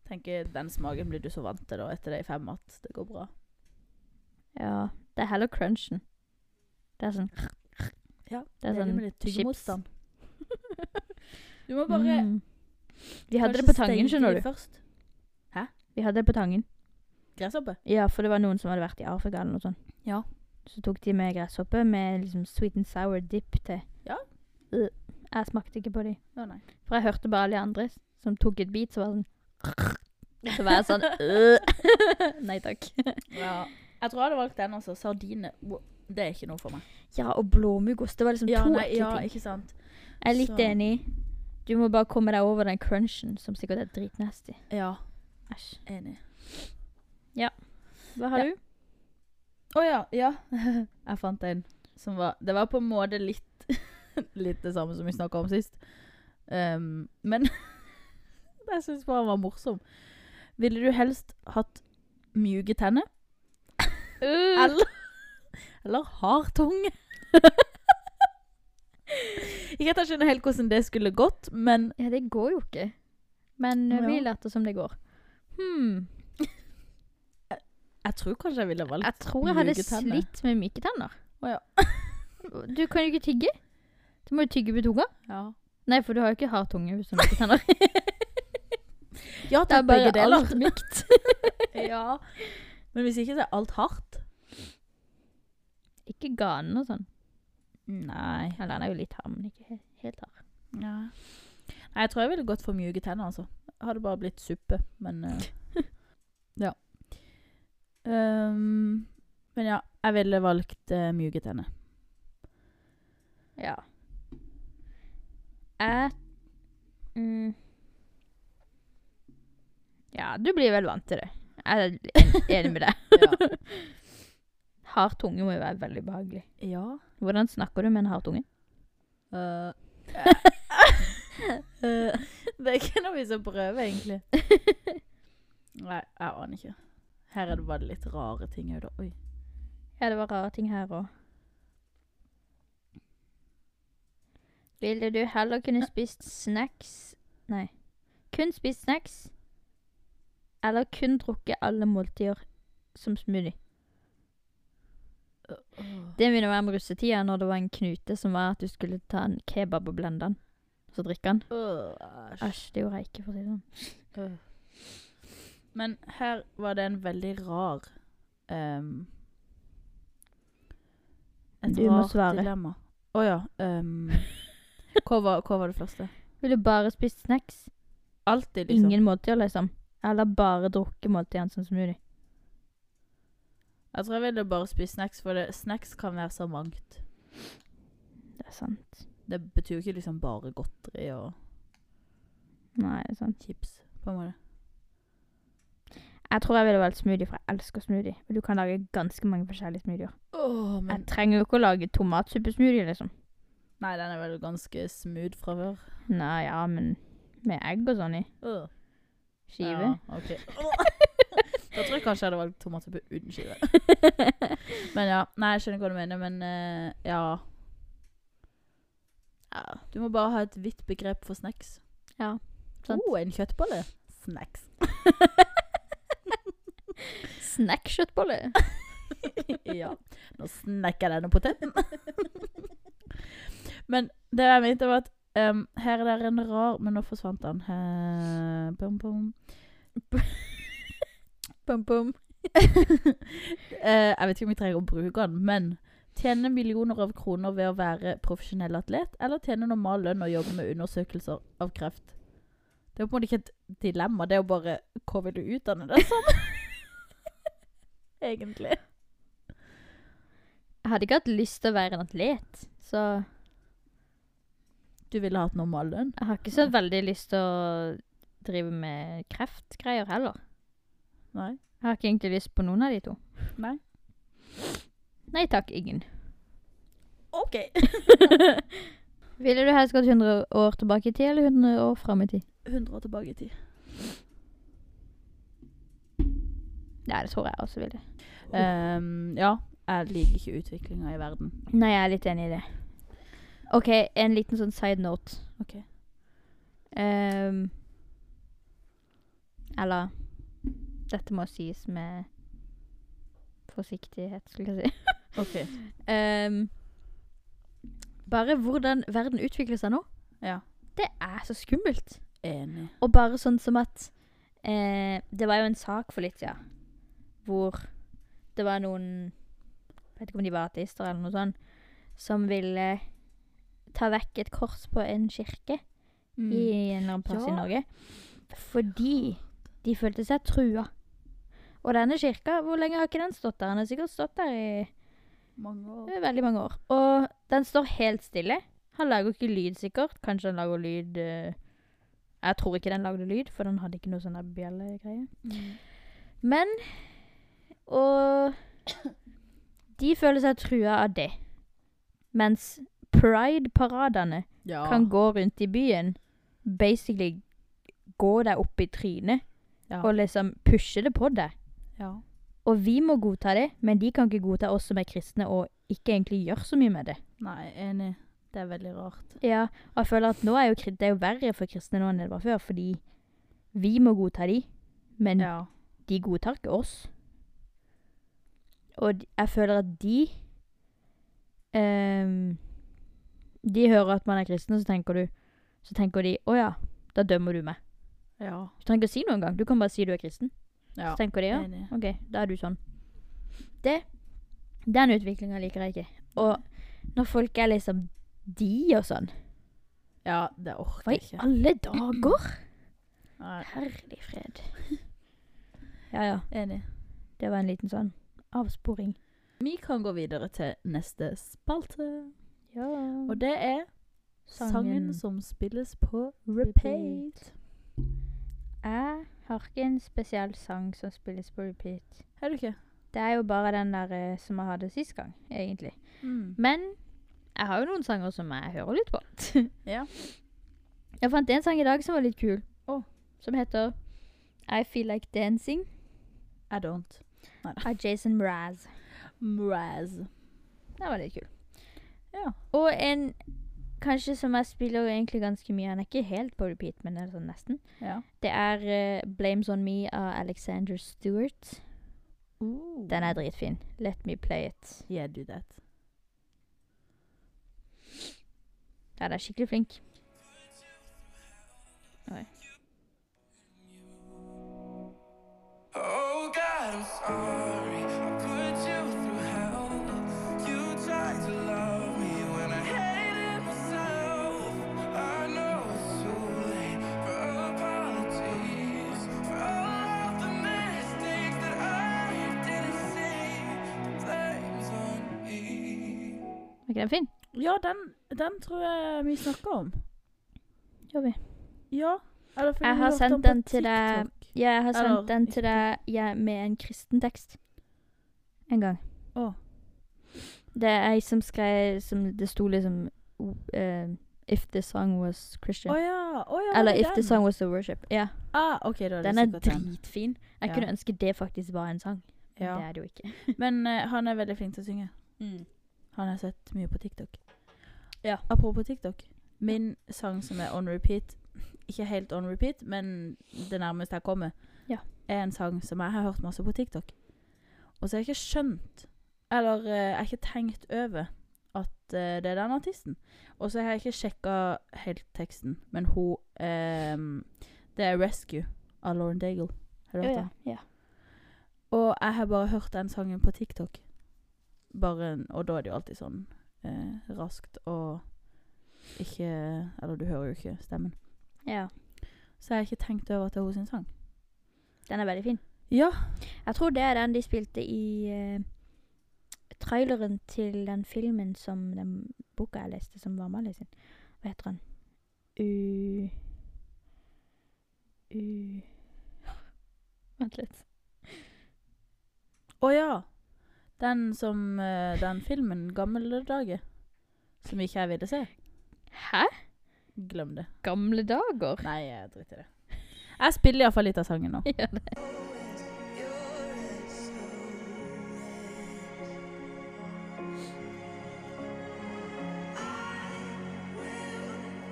[SPEAKER 1] Tenker Den smaken blir du så vant til da, etter de fem at det går bra.
[SPEAKER 2] Ja, det er heller crunchen. Det er sånn
[SPEAKER 1] Ja,
[SPEAKER 2] Det er sånn
[SPEAKER 1] med litt tyggemotstand. Du må bare
[SPEAKER 2] mm. Vi hadde
[SPEAKER 1] kanskje
[SPEAKER 2] det på tangen,
[SPEAKER 1] steike
[SPEAKER 2] skjønner
[SPEAKER 1] de
[SPEAKER 2] du.
[SPEAKER 1] Først.
[SPEAKER 2] Vi hadde det på tangen.
[SPEAKER 1] Gresshoppe?
[SPEAKER 2] Ja, for det var noen som hadde vært i Afrika eller noe sånt.
[SPEAKER 1] Ja.
[SPEAKER 2] Så tok de med gresshoppe med liksom sweet and sour dip til.
[SPEAKER 1] Ja.
[SPEAKER 2] Øh, Jeg smakte ikke på de.
[SPEAKER 1] Å nei.
[SPEAKER 2] For jeg hørte bare alle de andre som tok et bit, så var det sånn Så var jeg sånn øh. Nei takk.
[SPEAKER 1] Ja. Jeg tror jeg hadde valgt den også. Sardiner. Wow, Det er ikke noe for meg.
[SPEAKER 2] Ja, og blåmuggost. Det var liksom to ekle
[SPEAKER 1] ja,
[SPEAKER 2] ting.
[SPEAKER 1] ikke sant.
[SPEAKER 2] Jeg er litt
[SPEAKER 1] så-
[SPEAKER 2] enig. Du må bare komme deg over den crunchen, som sikkert er dritnasty.
[SPEAKER 1] Ja,
[SPEAKER 2] Æsj.
[SPEAKER 1] enig.
[SPEAKER 2] Hva har
[SPEAKER 1] Ja.
[SPEAKER 2] du?
[SPEAKER 1] Å ja, ja. Jeg fant en som var Det var på en måte litt Litt det samme som vi snakka om sist. Ehm, men jeg syns bare han var morsom. Ville du helst hatt mjuke tenner
[SPEAKER 2] Øh.
[SPEAKER 1] eller, eller hard tunge? Ikke at jeg skjønner helt hvordan det skulle gått, men
[SPEAKER 2] Ja, det går jo ikke. Men øh,
[SPEAKER 1] Å,
[SPEAKER 2] vi
[SPEAKER 1] ja.
[SPEAKER 2] later som det går. Hmm.
[SPEAKER 1] jeg tror kanskje jeg ville valgt
[SPEAKER 2] Jeg tror jeg hadde
[SPEAKER 1] mjuke tenner.
[SPEAKER 2] slitt med myke tenner.
[SPEAKER 1] Å, ja.
[SPEAKER 2] du kan jo ikke tygge. Du må jo tygge på tunga.
[SPEAKER 1] Ja,
[SPEAKER 2] Nei, for du har jo ikke hard tunge hvis du har myke tenner.
[SPEAKER 1] ja
[SPEAKER 2] Det
[SPEAKER 1] takk,
[SPEAKER 2] er
[SPEAKER 1] begge
[SPEAKER 2] bare
[SPEAKER 1] deler.
[SPEAKER 2] alt mykt.
[SPEAKER 1] ja. Men hvis ikke, så er alt hardt.
[SPEAKER 2] ikke ganen og sånn.
[SPEAKER 1] Nei.
[SPEAKER 2] Eller den er jo litt hard, men ikke he- helt hard.
[SPEAKER 1] Ja. Nei, jeg tror jeg ville gått for mjuke tenner, altså. Hadde bare blitt suppe, men eh, Ja. Ehm, men ja, jeg ville valgt eh, mjuke tenner.
[SPEAKER 2] Ja. Jeg mm. Ja, du blir vel vant til det. Jeg er en- enig med deg.
[SPEAKER 1] Ja.
[SPEAKER 2] Hard tunge må jo være veldig behagelig.
[SPEAKER 1] ja.
[SPEAKER 2] Hvordan snakker du med en hard tunge?
[SPEAKER 1] Eh, eh, det er ikke noe vi skal prøve, egentlig. Nei, jeg aner ikke. Her er det bare litt rare ting. her da. Oi.
[SPEAKER 2] Ja, det var rare ting her òg. Ville du heller kunne spist snacks Nei. Kun spist snacks eller kun drukket alle måltider som smoothie? Det minner meg om russetida, når det var en knute som var at du skulle ta en kebab og blende den. Så drikke den.
[SPEAKER 1] Øh, æsj.
[SPEAKER 2] Æsj, det gjorde jeg ikke, for å si det sånn.
[SPEAKER 1] Øh. Men her var det en veldig rar ehm, Et
[SPEAKER 2] Du må
[SPEAKER 1] rart
[SPEAKER 2] svare.
[SPEAKER 1] dilemma. Å ja. ehm, hva, var, hva var det første?
[SPEAKER 2] Ville du bare spist snacks?
[SPEAKER 1] Alltid, liksom.
[SPEAKER 2] Ingen måltider, liksom? Eller bare drukket måltidene som smoothie?
[SPEAKER 1] Jeg tror jeg ville bare spise snacks, for det, snacks kan være så mangt.
[SPEAKER 2] Det er sant.
[SPEAKER 1] Det betyr jo ikke liksom bare godteri og
[SPEAKER 2] Nei, det er sant.
[SPEAKER 1] chips, på en måte.
[SPEAKER 2] Jeg tror jeg ville valgt smoothie, for jeg elsker smoothie. Og du kan lage ganske mange forskjellige smoothier.
[SPEAKER 1] Åh,
[SPEAKER 2] Jeg trenger jo ikke å lage tomatsuppesmoothie, liksom.
[SPEAKER 1] Nei, den er vel ganske smooth fra før.
[SPEAKER 2] Nei, ja, men med egg og sånn i.
[SPEAKER 1] Uh.
[SPEAKER 2] Skive.
[SPEAKER 1] Ja, ok. da tror jeg kanskje jeg hadde valgt tomatsuppe uten skive. Men ja, nei, jeg skjønner hva du mener, men eh, ja. ja. Du må bare ha et vidt begrep for snacks.
[SPEAKER 2] Ja, sant.
[SPEAKER 1] Oh, en kjøttbolle. Snacks.
[SPEAKER 2] Snackskjøttbolle.
[SPEAKER 1] ja. Nå snakker jeg denne poteten. men det jeg mente, var at em, her er det en rar Men nå forsvant han. He, bom, bom.
[SPEAKER 2] Bom, bom.
[SPEAKER 1] Eh, jeg vet ikke om vi trenger å bruke den, men tjene millioner av kroner ved å være profesjonell atlet, eller tjene normal lønn og jobbe med undersøkelser av kreft? Det er jo på en måte ikke et dilemma, det er jo bare hva vil du utdanne deg som? Egentlig.
[SPEAKER 2] Jeg hadde ikke hatt lyst til å være en atlet, så
[SPEAKER 1] Du ville hatt normal lønn?
[SPEAKER 2] jeg har ikke så veldig lyst til å drive med kreftgreier heller.
[SPEAKER 1] Nei.
[SPEAKER 2] Jeg har ikke egentlig lyst på noen av de to.
[SPEAKER 1] Nei.
[SPEAKER 2] Nei takk, ingen.
[SPEAKER 1] OK.
[SPEAKER 2] Ville du helst gått 100 år tilbake i tid, eller 100 år fram i tid?
[SPEAKER 1] 100 år tilbake i tid.
[SPEAKER 2] Nei, det tror jeg også ville.
[SPEAKER 1] Ehm, ja. Jeg liker ikke utviklinga i verden.
[SPEAKER 2] Nei, jeg er litt enig i det. OK, en liten sånn side note.
[SPEAKER 1] Ok.
[SPEAKER 2] Ehm, eller Dette må sies med forsiktighet, skulle jeg si.
[SPEAKER 1] OK.
[SPEAKER 2] Ehm, bare hvordan verden utvikler seg nå.
[SPEAKER 1] Ja.
[SPEAKER 2] Det er så skummelt.
[SPEAKER 1] Enig.
[SPEAKER 2] Og bare sånn som at eh, Det var jo en sak for litt siden hvor det var noen Jeg vet ikke om de var ateister eller noe sånt, som ville ta vekk et kors på en kirke
[SPEAKER 1] Mm.
[SPEAKER 2] i en eller annen plass
[SPEAKER 1] Ja.
[SPEAKER 2] i Norge. Fordi de følte seg trua. Og denne kirka, hvor lenge har ikke den stått der? Den har sikkert stått der i
[SPEAKER 1] Mange år.
[SPEAKER 2] det er veldig mange år. Og den står helt stille. Han lager ikke lyd, sikkert. Kanskje han lager lyd eh, Jeg tror ikke den lagde lyd, for den hadde ikke noe sånn der bjellegreie.
[SPEAKER 1] Mm.
[SPEAKER 2] Men Og de føler seg trua av det. Mens pride-paradene
[SPEAKER 1] Ja.
[SPEAKER 2] kan gå rundt i byen, basically gå deg opp i trynet
[SPEAKER 1] Ja.
[SPEAKER 2] og liksom pushe det på deg.
[SPEAKER 1] ja.
[SPEAKER 2] Og vi må godta det, men de kan ikke godta oss som er kristne og ikke egentlig gjør så mye med det.
[SPEAKER 1] Nei, enig. Det er veldig rart.
[SPEAKER 2] Ja, og jeg føler at nå er jo, kri- det er jo verre for kristne nå enn det var før, fordi vi må godta de, men
[SPEAKER 1] Ja.
[SPEAKER 2] de godtar ikke oss. Og d- jeg føler at de ehm, De hører at man er kristen, og så tenker du Så tenker de å ja, da dømmer du meg.
[SPEAKER 1] Ja.
[SPEAKER 2] Du trenger ikke å si noe engang. Du kan bare si du er kristen.
[SPEAKER 1] ja.
[SPEAKER 2] Så tenker de ja,
[SPEAKER 1] Enig.
[SPEAKER 2] OK, da er du sånn. Det Den utviklinga liker jeg ikke. Og når folk er liksom de og sånn
[SPEAKER 1] Ja, det orker
[SPEAKER 2] Hva
[SPEAKER 1] jeg
[SPEAKER 2] i
[SPEAKER 1] ikke.
[SPEAKER 2] alle dager?
[SPEAKER 1] Nei,
[SPEAKER 2] Herlig fred. Ja ja,
[SPEAKER 1] enig.
[SPEAKER 2] det var en liten sånn avsporing.
[SPEAKER 1] Vi kan gå videre til neste spalte,
[SPEAKER 2] Ja.
[SPEAKER 1] og det er sangen,
[SPEAKER 2] Sangen.
[SPEAKER 1] som spilles på repeat.
[SPEAKER 2] Jeg Har ikke en spesiell sang som spilles på repeat.
[SPEAKER 1] Er du ikke?
[SPEAKER 2] Det er jo bare den der eh, som jeg hadde sist gang, egentlig.
[SPEAKER 1] Mm.
[SPEAKER 2] Men jeg har jo noen sanger som jeg hører litt på.
[SPEAKER 1] Ja.
[SPEAKER 2] Jeg fant en sang i dag som var litt kul,
[SPEAKER 1] Å.
[SPEAKER 2] som heter I Feel Like Dancing
[SPEAKER 1] I don't.
[SPEAKER 2] av Jason Mraz.
[SPEAKER 1] Mraz.
[SPEAKER 2] Den var litt kul.
[SPEAKER 1] Ja.
[SPEAKER 2] Og en kanskje som jeg spiller jo egentlig ganske mye. Han er ikke helt på repeat, men det er sånn nesten.
[SPEAKER 1] Ja.
[SPEAKER 2] Det er eh, Blames On Me av Alexander Stewart. Den er dritfin. Let me play it.
[SPEAKER 1] Yeah, do that.
[SPEAKER 2] Ja, den er skikkelig flink.
[SPEAKER 3] Oh God, I'm sorry. I put you through hell. You tried to love me when I hated myself. I know it's too late for apologies for all of the mistakes that I didn't see. The blame's on me.
[SPEAKER 2] Var ikke den fin?
[SPEAKER 1] Ja, den, den tror jeg vi snakker om.
[SPEAKER 2] Gjør vi.
[SPEAKER 1] Ja. Eller fordi
[SPEAKER 2] Jeg
[SPEAKER 1] vi
[SPEAKER 2] har
[SPEAKER 1] hørte
[SPEAKER 2] sendt
[SPEAKER 1] på
[SPEAKER 2] den til eh, deg.
[SPEAKER 1] TikTok.
[SPEAKER 2] Ja, jeg har
[SPEAKER 1] Eller-
[SPEAKER 2] sendt den til deg ja, med en kristen tekst. En gang.
[SPEAKER 1] Å.
[SPEAKER 2] Det er ei som skrev som Det sto liksom o- eh, If the song was Christian.
[SPEAKER 1] Å ja. Å ja.
[SPEAKER 2] Eller
[SPEAKER 1] det
[SPEAKER 2] If
[SPEAKER 1] er
[SPEAKER 2] the
[SPEAKER 1] den.
[SPEAKER 2] song was the worship. Ja.
[SPEAKER 1] ah, OK, da er det
[SPEAKER 2] Den er
[SPEAKER 1] sikkert den.
[SPEAKER 2] dritfin. Jeg
[SPEAKER 1] Ja.
[SPEAKER 2] kunne ønske det faktisk var en sang. Men
[SPEAKER 1] Ja.
[SPEAKER 2] Det er det jo ikke.
[SPEAKER 1] Men eh, han er veldig flink til å synge. Han har sett mye på TikTok. Ja. Apropos TikTok. Min sang som er on repeat, ikke helt on repeat, men det nærmeste jeg kommer,
[SPEAKER 2] Ja.
[SPEAKER 1] er en sang som jeg har hørt masse på TikTok. Og så har jeg ikke skjønt, eller eh, jeg har ikke tenkt over, at eh, det er den artisten. Og så har jeg ikke sjekka helt teksten, men hun ehm, Det er 'Rescue' av Lauren Daigle. Har du hørt den?
[SPEAKER 2] ja.
[SPEAKER 1] Og jeg har bare hørt den sangen på TikTok. Bare, en- og da er det jo alltid sånn eh, raskt og ikke Eller du hører jo ikke stemmen.
[SPEAKER 2] ja.
[SPEAKER 1] Så jeg har ikke tenkt over at det er hennes sang.
[SPEAKER 2] Den er veldig fin.
[SPEAKER 1] Ja.
[SPEAKER 2] Jeg tror det er den de spilte i eh, traileren til den filmen som den boka jeg leste, som var Mali sin. Hva heter den? U... U... Vent litt.
[SPEAKER 1] Å ja! Den som eh, Den filmen, 'Gamle dager', som ikke jeg ville se.
[SPEAKER 2] Hæ?
[SPEAKER 1] Glem det.
[SPEAKER 2] Gamle dager?
[SPEAKER 1] Nei, jeg driter i det. Jeg spiller iallfall litt av sangen nå.
[SPEAKER 2] Ja, det.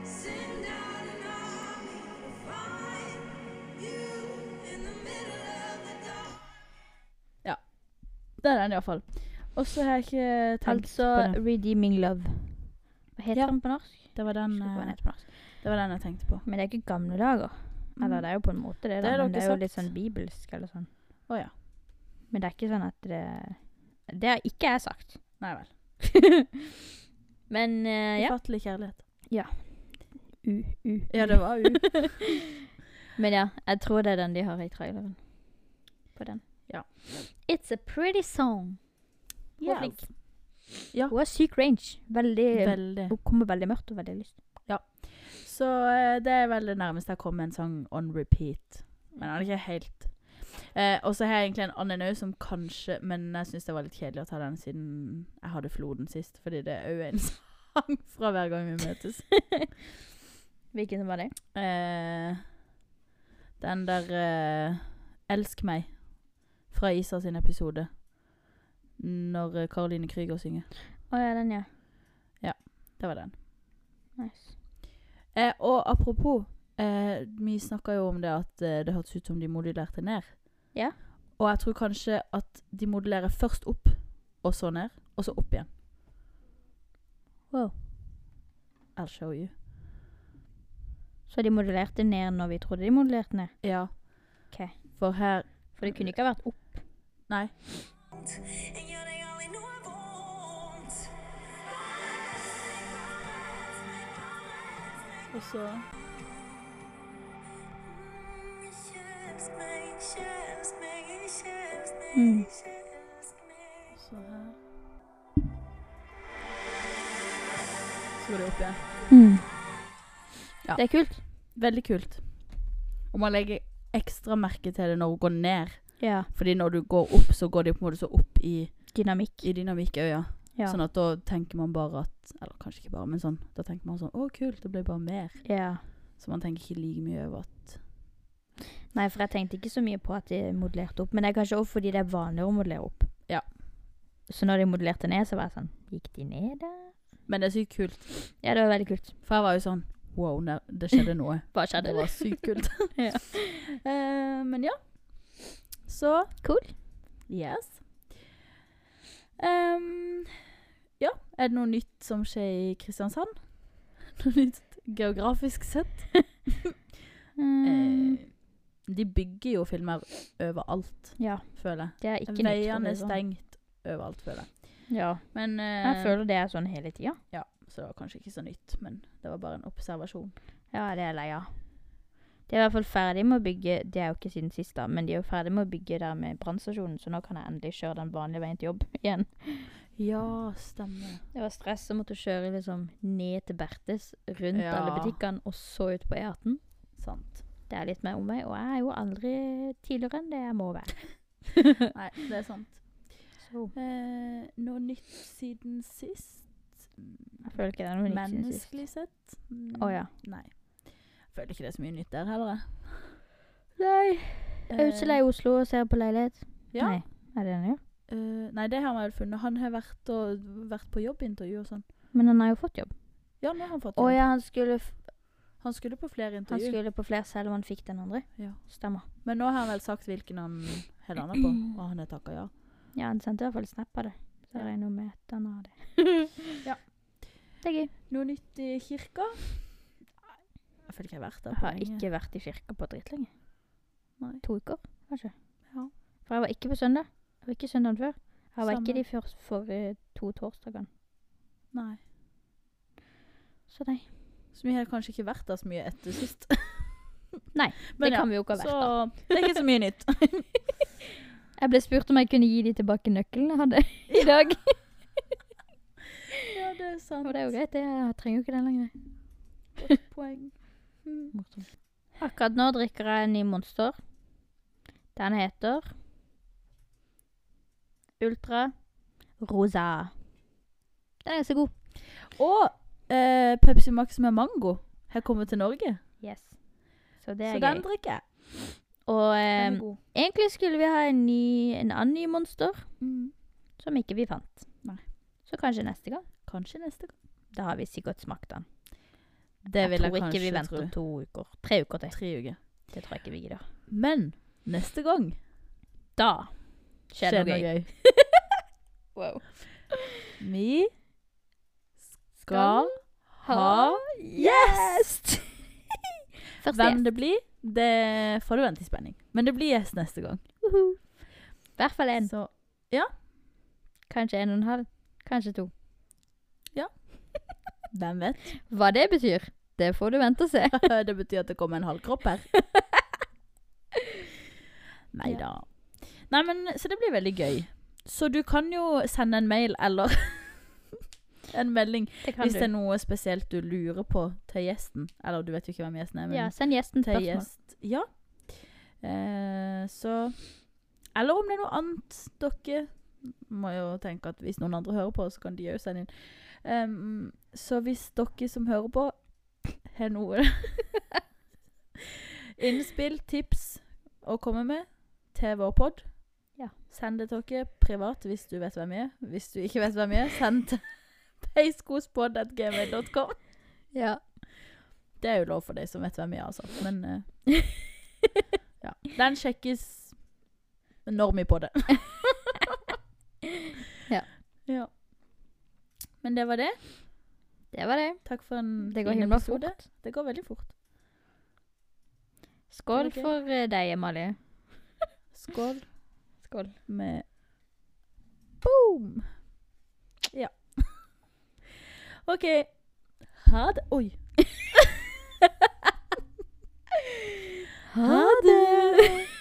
[SPEAKER 3] Send out an army to find you in the middle of the dark.
[SPEAKER 1] Det er den iallfall. Og så har jeg ikke tenkt
[SPEAKER 2] Altså
[SPEAKER 1] på den.
[SPEAKER 2] Redeeming Love. Hva heter
[SPEAKER 1] Ja.
[SPEAKER 2] den på norsk?
[SPEAKER 1] Det var den,
[SPEAKER 2] Husker ikke hva den
[SPEAKER 1] eh,
[SPEAKER 2] heter på norsk.
[SPEAKER 1] det var den jeg tenkte på.
[SPEAKER 2] Men det er ikke gamle dager.
[SPEAKER 1] Mm.
[SPEAKER 2] Eller det er jo på en måte det,
[SPEAKER 1] Det
[SPEAKER 2] da, men
[SPEAKER 1] har dere
[SPEAKER 2] det er jo
[SPEAKER 1] sagt.
[SPEAKER 2] litt sånn bibelsk eller sånn.
[SPEAKER 1] Å ja.
[SPEAKER 2] Men det er ikke sånn at det Det har ikke jeg sagt.
[SPEAKER 1] Nei vel.
[SPEAKER 2] Men eh, ja.
[SPEAKER 1] Ufattelig kjærlighet.
[SPEAKER 2] U, u.
[SPEAKER 1] Ja, det var jo
[SPEAKER 2] Men ja, jeg tror det er den de har i traileren. På den.
[SPEAKER 1] Ja.
[SPEAKER 2] It's a pretty song. Hun er
[SPEAKER 1] Yes.
[SPEAKER 2] flink.
[SPEAKER 1] Ja.
[SPEAKER 2] Hun har syk range. Veldig,
[SPEAKER 1] Veldig.
[SPEAKER 2] Hun kommer veldig mørkt og veldig lyst.
[SPEAKER 1] Så eh, det er vel det nærmeste jeg kom med en sang on repeat. Men han er ikke helt eh, Og så har jeg egentlig en annen òg som kanskje Men jeg syns det var litt kjedelig å ta den siden jeg hadde Floden sist. Fordi det er òg en sang fra hver gang vi møtes.
[SPEAKER 2] Hvilken som var det?
[SPEAKER 1] Eh, den der eh, 'Elsk meg' fra Isa sin episode. Når eh, Caroline Krüger synger.
[SPEAKER 2] Å ja, den, ja.
[SPEAKER 1] Det var den.
[SPEAKER 2] Nice.
[SPEAKER 1] Eh, og apropos, eh, vi snakka jo om det at eh, det hørtes ut som de modulerte ned.
[SPEAKER 2] Ja.
[SPEAKER 1] Og jeg tror kanskje at de modulerer først opp, og så ned, og så opp igjen.
[SPEAKER 2] Wow.
[SPEAKER 1] I'll show you.
[SPEAKER 2] Så de modulerte ned når vi trodde de modulerte ned?
[SPEAKER 1] Ja.
[SPEAKER 2] Ok.
[SPEAKER 1] For her
[SPEAKER 2] For det kunne ikke ha vært opp.
[SPEAKER 1] Nei.
[SPEAKER 3] And you're the only new I want.
[SPEAKER 1] Og så
[SPEAKER 3] Shifts, make shifts, make shifts, make
[SPEAKER 2] Mm.
[SPEAKER 3] shifts, make
[SPEAKER 1] Så her. Så går det opp
[SPEAKER 2] Mm.
[SPEAKER 1] igjen. Ja.
[SPEAKER 2] Det er kult.
[SPEAKER 1] Veldig kult. Og man legger ekstra merke til det når hun går ned.
[SPEAKER 2] Ja.
[SPEAKER 1] Fordi når du går opp, så går de på en måte så opp i,
[SPEAKER 2] Dynamikk.
[SPEAKER 1] i dynamikkøya.
[SPEAKER 2] Ja.
[SPEAKER 1] Sånn at da tenker man bare at Eller kanskje ikke bare, men sånn. Da tenker man sånn Å, kult, det ble bare mer.
[SPEAKER 2] ja.
[SPEAKER 1] Så man tenker ikke like mye over at
[SPEAKER 2] Nei, for jeg tenkte ikke så mye på at de modellerte opp. Men det er kanskje også fordi det er vanligere å modellere opp.
[SPEAKER 1] Ja.
[SPEAKER 2] Så når de modellerte ned, så var jeg sånn Gikk de ned, da?
[SPEAKER 1] Men det er sykt kult.
[SPEAKER 2] Ja, det var veldig kult. Mm.
[SPEAKER 1] For jeg var jo sånn Wow, ne- det skjedde noe.
[SPEAKER 2] Hva
[SPEAKER 1] Det var sykt kult.
[SPEAKER 2] Ja.
[SPEAKER 1] Eh, men ja. Så
[SPEAKER 2] Cool.
[SPEAKER 1] Yes. Ehm, ja, er det noe nytt som skjer i Kristiansand? Noe nytt geografisk sett?
[SPEAKER 2] Mm,
[SPEAKER 1] Eh, de bygger jo filmer overalt,
[SPEAKER 2] ja.
[SPEAKER 1] føler
[SPEAKER 2] Det er
[SPEAKER 1] jeg.
[SPEAKER 2] ikke nytt. for å
[SPEAKER 1] Veiene er
[SPEAKER 2] si det sånn.
[SPEAKER 1] stengt overalt, føler jeg.
[SPEAKER 2] Ja.
[SPEAKER 1] Men eh,
[SPEAKER 2] Jeg føler det er sånn hele tida.
[SPEAKER 1] Ja, så det var kanskje ikke så nytt, men det var bare en observasjon.
[SPEAKER 2] Ja, det er jeg lei av. De er i hvert fall ferdig med å bygge Det er jo ikke siden sist, da, men de er jo ferdig med å bygge der med brannstasjonen, så nå kan jeg endelig kjøre den vanlige veien til jobb igjen.
[SPEAKER 1] Ja, stemmer.
[SPEAKER 2] Det var stress å måtte kjøre liksom ned til Bertes, rundt
[SPEAKER 1] Ja.
[SPEAKER 2] alle butikkene, og så ut på E18.
[SPEAKER 1] Sant.
[SPEAKER 2] Det er litt mer omvei, og jeg er jo aldri tidligere enn det jeg må være.
[SPEAKER 1] Nei, det er sant.
[SPEAKER 2] Så
[SPEAKER 1] Eh, noe nytt siden sist?
[SPEAKER 2] jeg føler ikke det er noe nytt siden sist.
[SPEAKER 1] Menneskelig sett? Mm,
[SPEAKER 2] Å, ja.
[SPEAKER 1] Nei. Føler ikke det er så mye nytt der heller. jeg.
[SPEAKER 2] Nei. Audsel er
[SPEAKER 1] Eh,
[SPEAKER 2] i Oslo og ser på leilighet.
[SPEAKER 1] ja.
[SPEAKER 2] Nei, er det han gjør?
[SPEAKER 1] Eh, nei, det har vi vel funnet. Han har vært, og, vært på jobbintervju og sånn.
[SPEAKER 2] Men han har jo fått jobb.
[SPEAKER 1] Ja, nå har han fått
[SPEAKER 2] Å
[SPEAKER 1] jobb.
[SPEAKER 2] ja, han skulle, f-
[SPEAKER 1] Han skulle på flere
[SPEAKER 2] han
[SPEAKER 1] intervju,
[SPEAKER 2] skulle på flere selv om han fikk den andre.
[SPEAKER 1] Ja.
[SPEAKER 2] Stemmer.
[SPEAKER 1] men nå har han vel sagt hvilken han har landa på, og han har takka ja.
[SPEAKER 2] Ja, han sendte i hvert fall snap av det. Så
[SPEAKER 1] Ja.
[SPEAKER 2] jeg regner med at han har det.
[SPEAKER 1] Ja.
[SPEAKER 2] Det er gøy.
[SPEAKER 1] Noe nytt i kirka? Nei, Jeg føler ikke jeg har vært der
[SPEAKER 2] Jeg
[SPEAKER 1] på
[SPEAKER 2] har ikke vært i kirka på dritlenge.
[SPEAKER 1] Nei.
[SPEAKER 2] To uker, kanskje.
[SPEAKER 1] Ja.
[SPEAKER 2] For jeg var ikke på søndag. Jeg var ikke søndagen før. Jeg var ikke
[SPEAKER 1] Samme.
[SPEAKER 2] de første forrige to torsdagene.
[SPEAKER 1] Nei.
[SPEAKER 2] Så nei.
[SPEAKER 1] Så vi har kanskje ikke vært der så mye etter sist.
[SPEAKER 2] Nei,
[SPEAKER 1] Men
[SPEAKER 2] det
[SPEAKER 1] ja,
[SPEAKER 2] kan vi jo ikke ha vært da.
[SPEAKER 1] Så det er ikke så mye nytt.
[SPEAKER 2] Jeg ble spurt om jeg kunne gi de tilbake nøkkelen jeg hadde i dag.
[SPEAKER 1] ja, det er sant.
[SPEAKER 2] Og det er jo greit, det. Jeg trenger jo ikke den lenger.
[SPEAKER 1] Poeng. Mm.
[SPEAKER 2] Akkurat nå drikker jeg en ny Monster. Den heter Ultra Rosa. Den er ganske god.
[SPEAKER 1] Og eh, Pepsi Max med mango har kommet til Norge.
[SPEAKER 2] Yes. Så det er
[SPEAKER 1] så
[SPEAKER 2] gøy.
[SPEAKER 1] den drikker jeg.
[SPEAKER 2] Og eh,
[SPEAKER 1] Den er god.
[SPEAKER 2] egentlig skulle vi ha en, ny, en annen ny Monster,
[SPEAKER 1] Mm.
[SPEAKER 2] som ikke vi fant.
[SPEAKER 1] Nei.
[SPEAKER 2] Så kanskje neste gang.
[SPEAKER 1] Kanskje neste gang.
[SPEAKER 2] Da har vi sikkert smakt den.
[SPEAKER 1] Det vil jeg,
[SPEAKER 2] tror ikke
[SPEAKER 1] kanskje
[SPEAKER 2] vi venter
[SPEAKER 1] tro.
[SPEAKER 2] to uker. Tre uker til.
[SPEAKER 1] Tre uker.
[SPEAKER 2] Det tror jeg ikke vi gidder.
[SPEAKER 1] Men neste gang
[SPEAKER 2] Da skjer det noe gøy. Wow.
[SPEAKER 1] Vi skal ha gjest!
[SPEAKER 2] Først
[SPEAKER 1] Hvem
[SPEAKER 2] gjest.
[SPEAKER 1] det blir, det får du vente i spenning. Men det blir gjest neste gang.
[SPEAKER 2] Uhu. I hvert fall en.
[SPEAKER 1] Så
[SPEAKER 2] Kanskje en og en halv. Kanskje to.
[SPEAKER 1] hvem vet?
[SPEAKER 2] Hva det betyr, det får du vente og se.
[SPEAKER 1] det betyr at det kommer en halv kropp her. Nei da. Nei, men Så det blir veldig gøy. Så du kan jo sende en mail eller en melding
[SPEAKER 2] Det
[SPEAKER 1] hvis det er noe spesielt du lurer på til gjesten. Eller du vet jo ikke hvem gjesten er, men
[SPEAKER 2] Ja, send gjesten
[SPEAKER 1] til
[SPEAKER 2] spørsmål.
[SPEAKER 1] gjest. Ja. Eh, så Eller om det er noe annet dere Må jo tenke at hvis noen andre hører på, så kan de òg sende inn. Em, så hvis dere som hører på, har noe innspill, tips å komme med til vår pod,
[SPEAKER 2] Ja.
[SPEAKER 1] send det til dere privat hvis du vet hvem jeg er. Hvis du ikke vet hvem jeg er, send til peiskospod.gmail.com.
[SPEAKER 2] Ja.
[SPEAKER 1] Det er jo lov for de som vet hvem jeg er, altså. Men eh, ja. Den sjekkes når vi er på det.
[SPEAKER 2] Ja.
[SPEAKER 1] ja. Men det var det.
[SPEAKER 2] Det var det.
[SPEAKER 1] Takk for en
[SPEAKER 2] Mm, Det går
[SPEAKER 1] fin
[SPEAKER 2] himla
[SPEAKER 1] episode.
[SPEAKER 2] fort.
[SPEAKER 1] Det går veldig fort.
[SPEAKER 2] Skål
[SPEAKER 1] Det var gøy.
[SPEAKER 2] for eh, deg, Emalie.
[SPEAKER 1] Skål
[SPEAKER 2] Skål.
[SPEAKER 1] med boom! Ja. OK. Ha det Oi.
[SPEAKER 2] Ha det!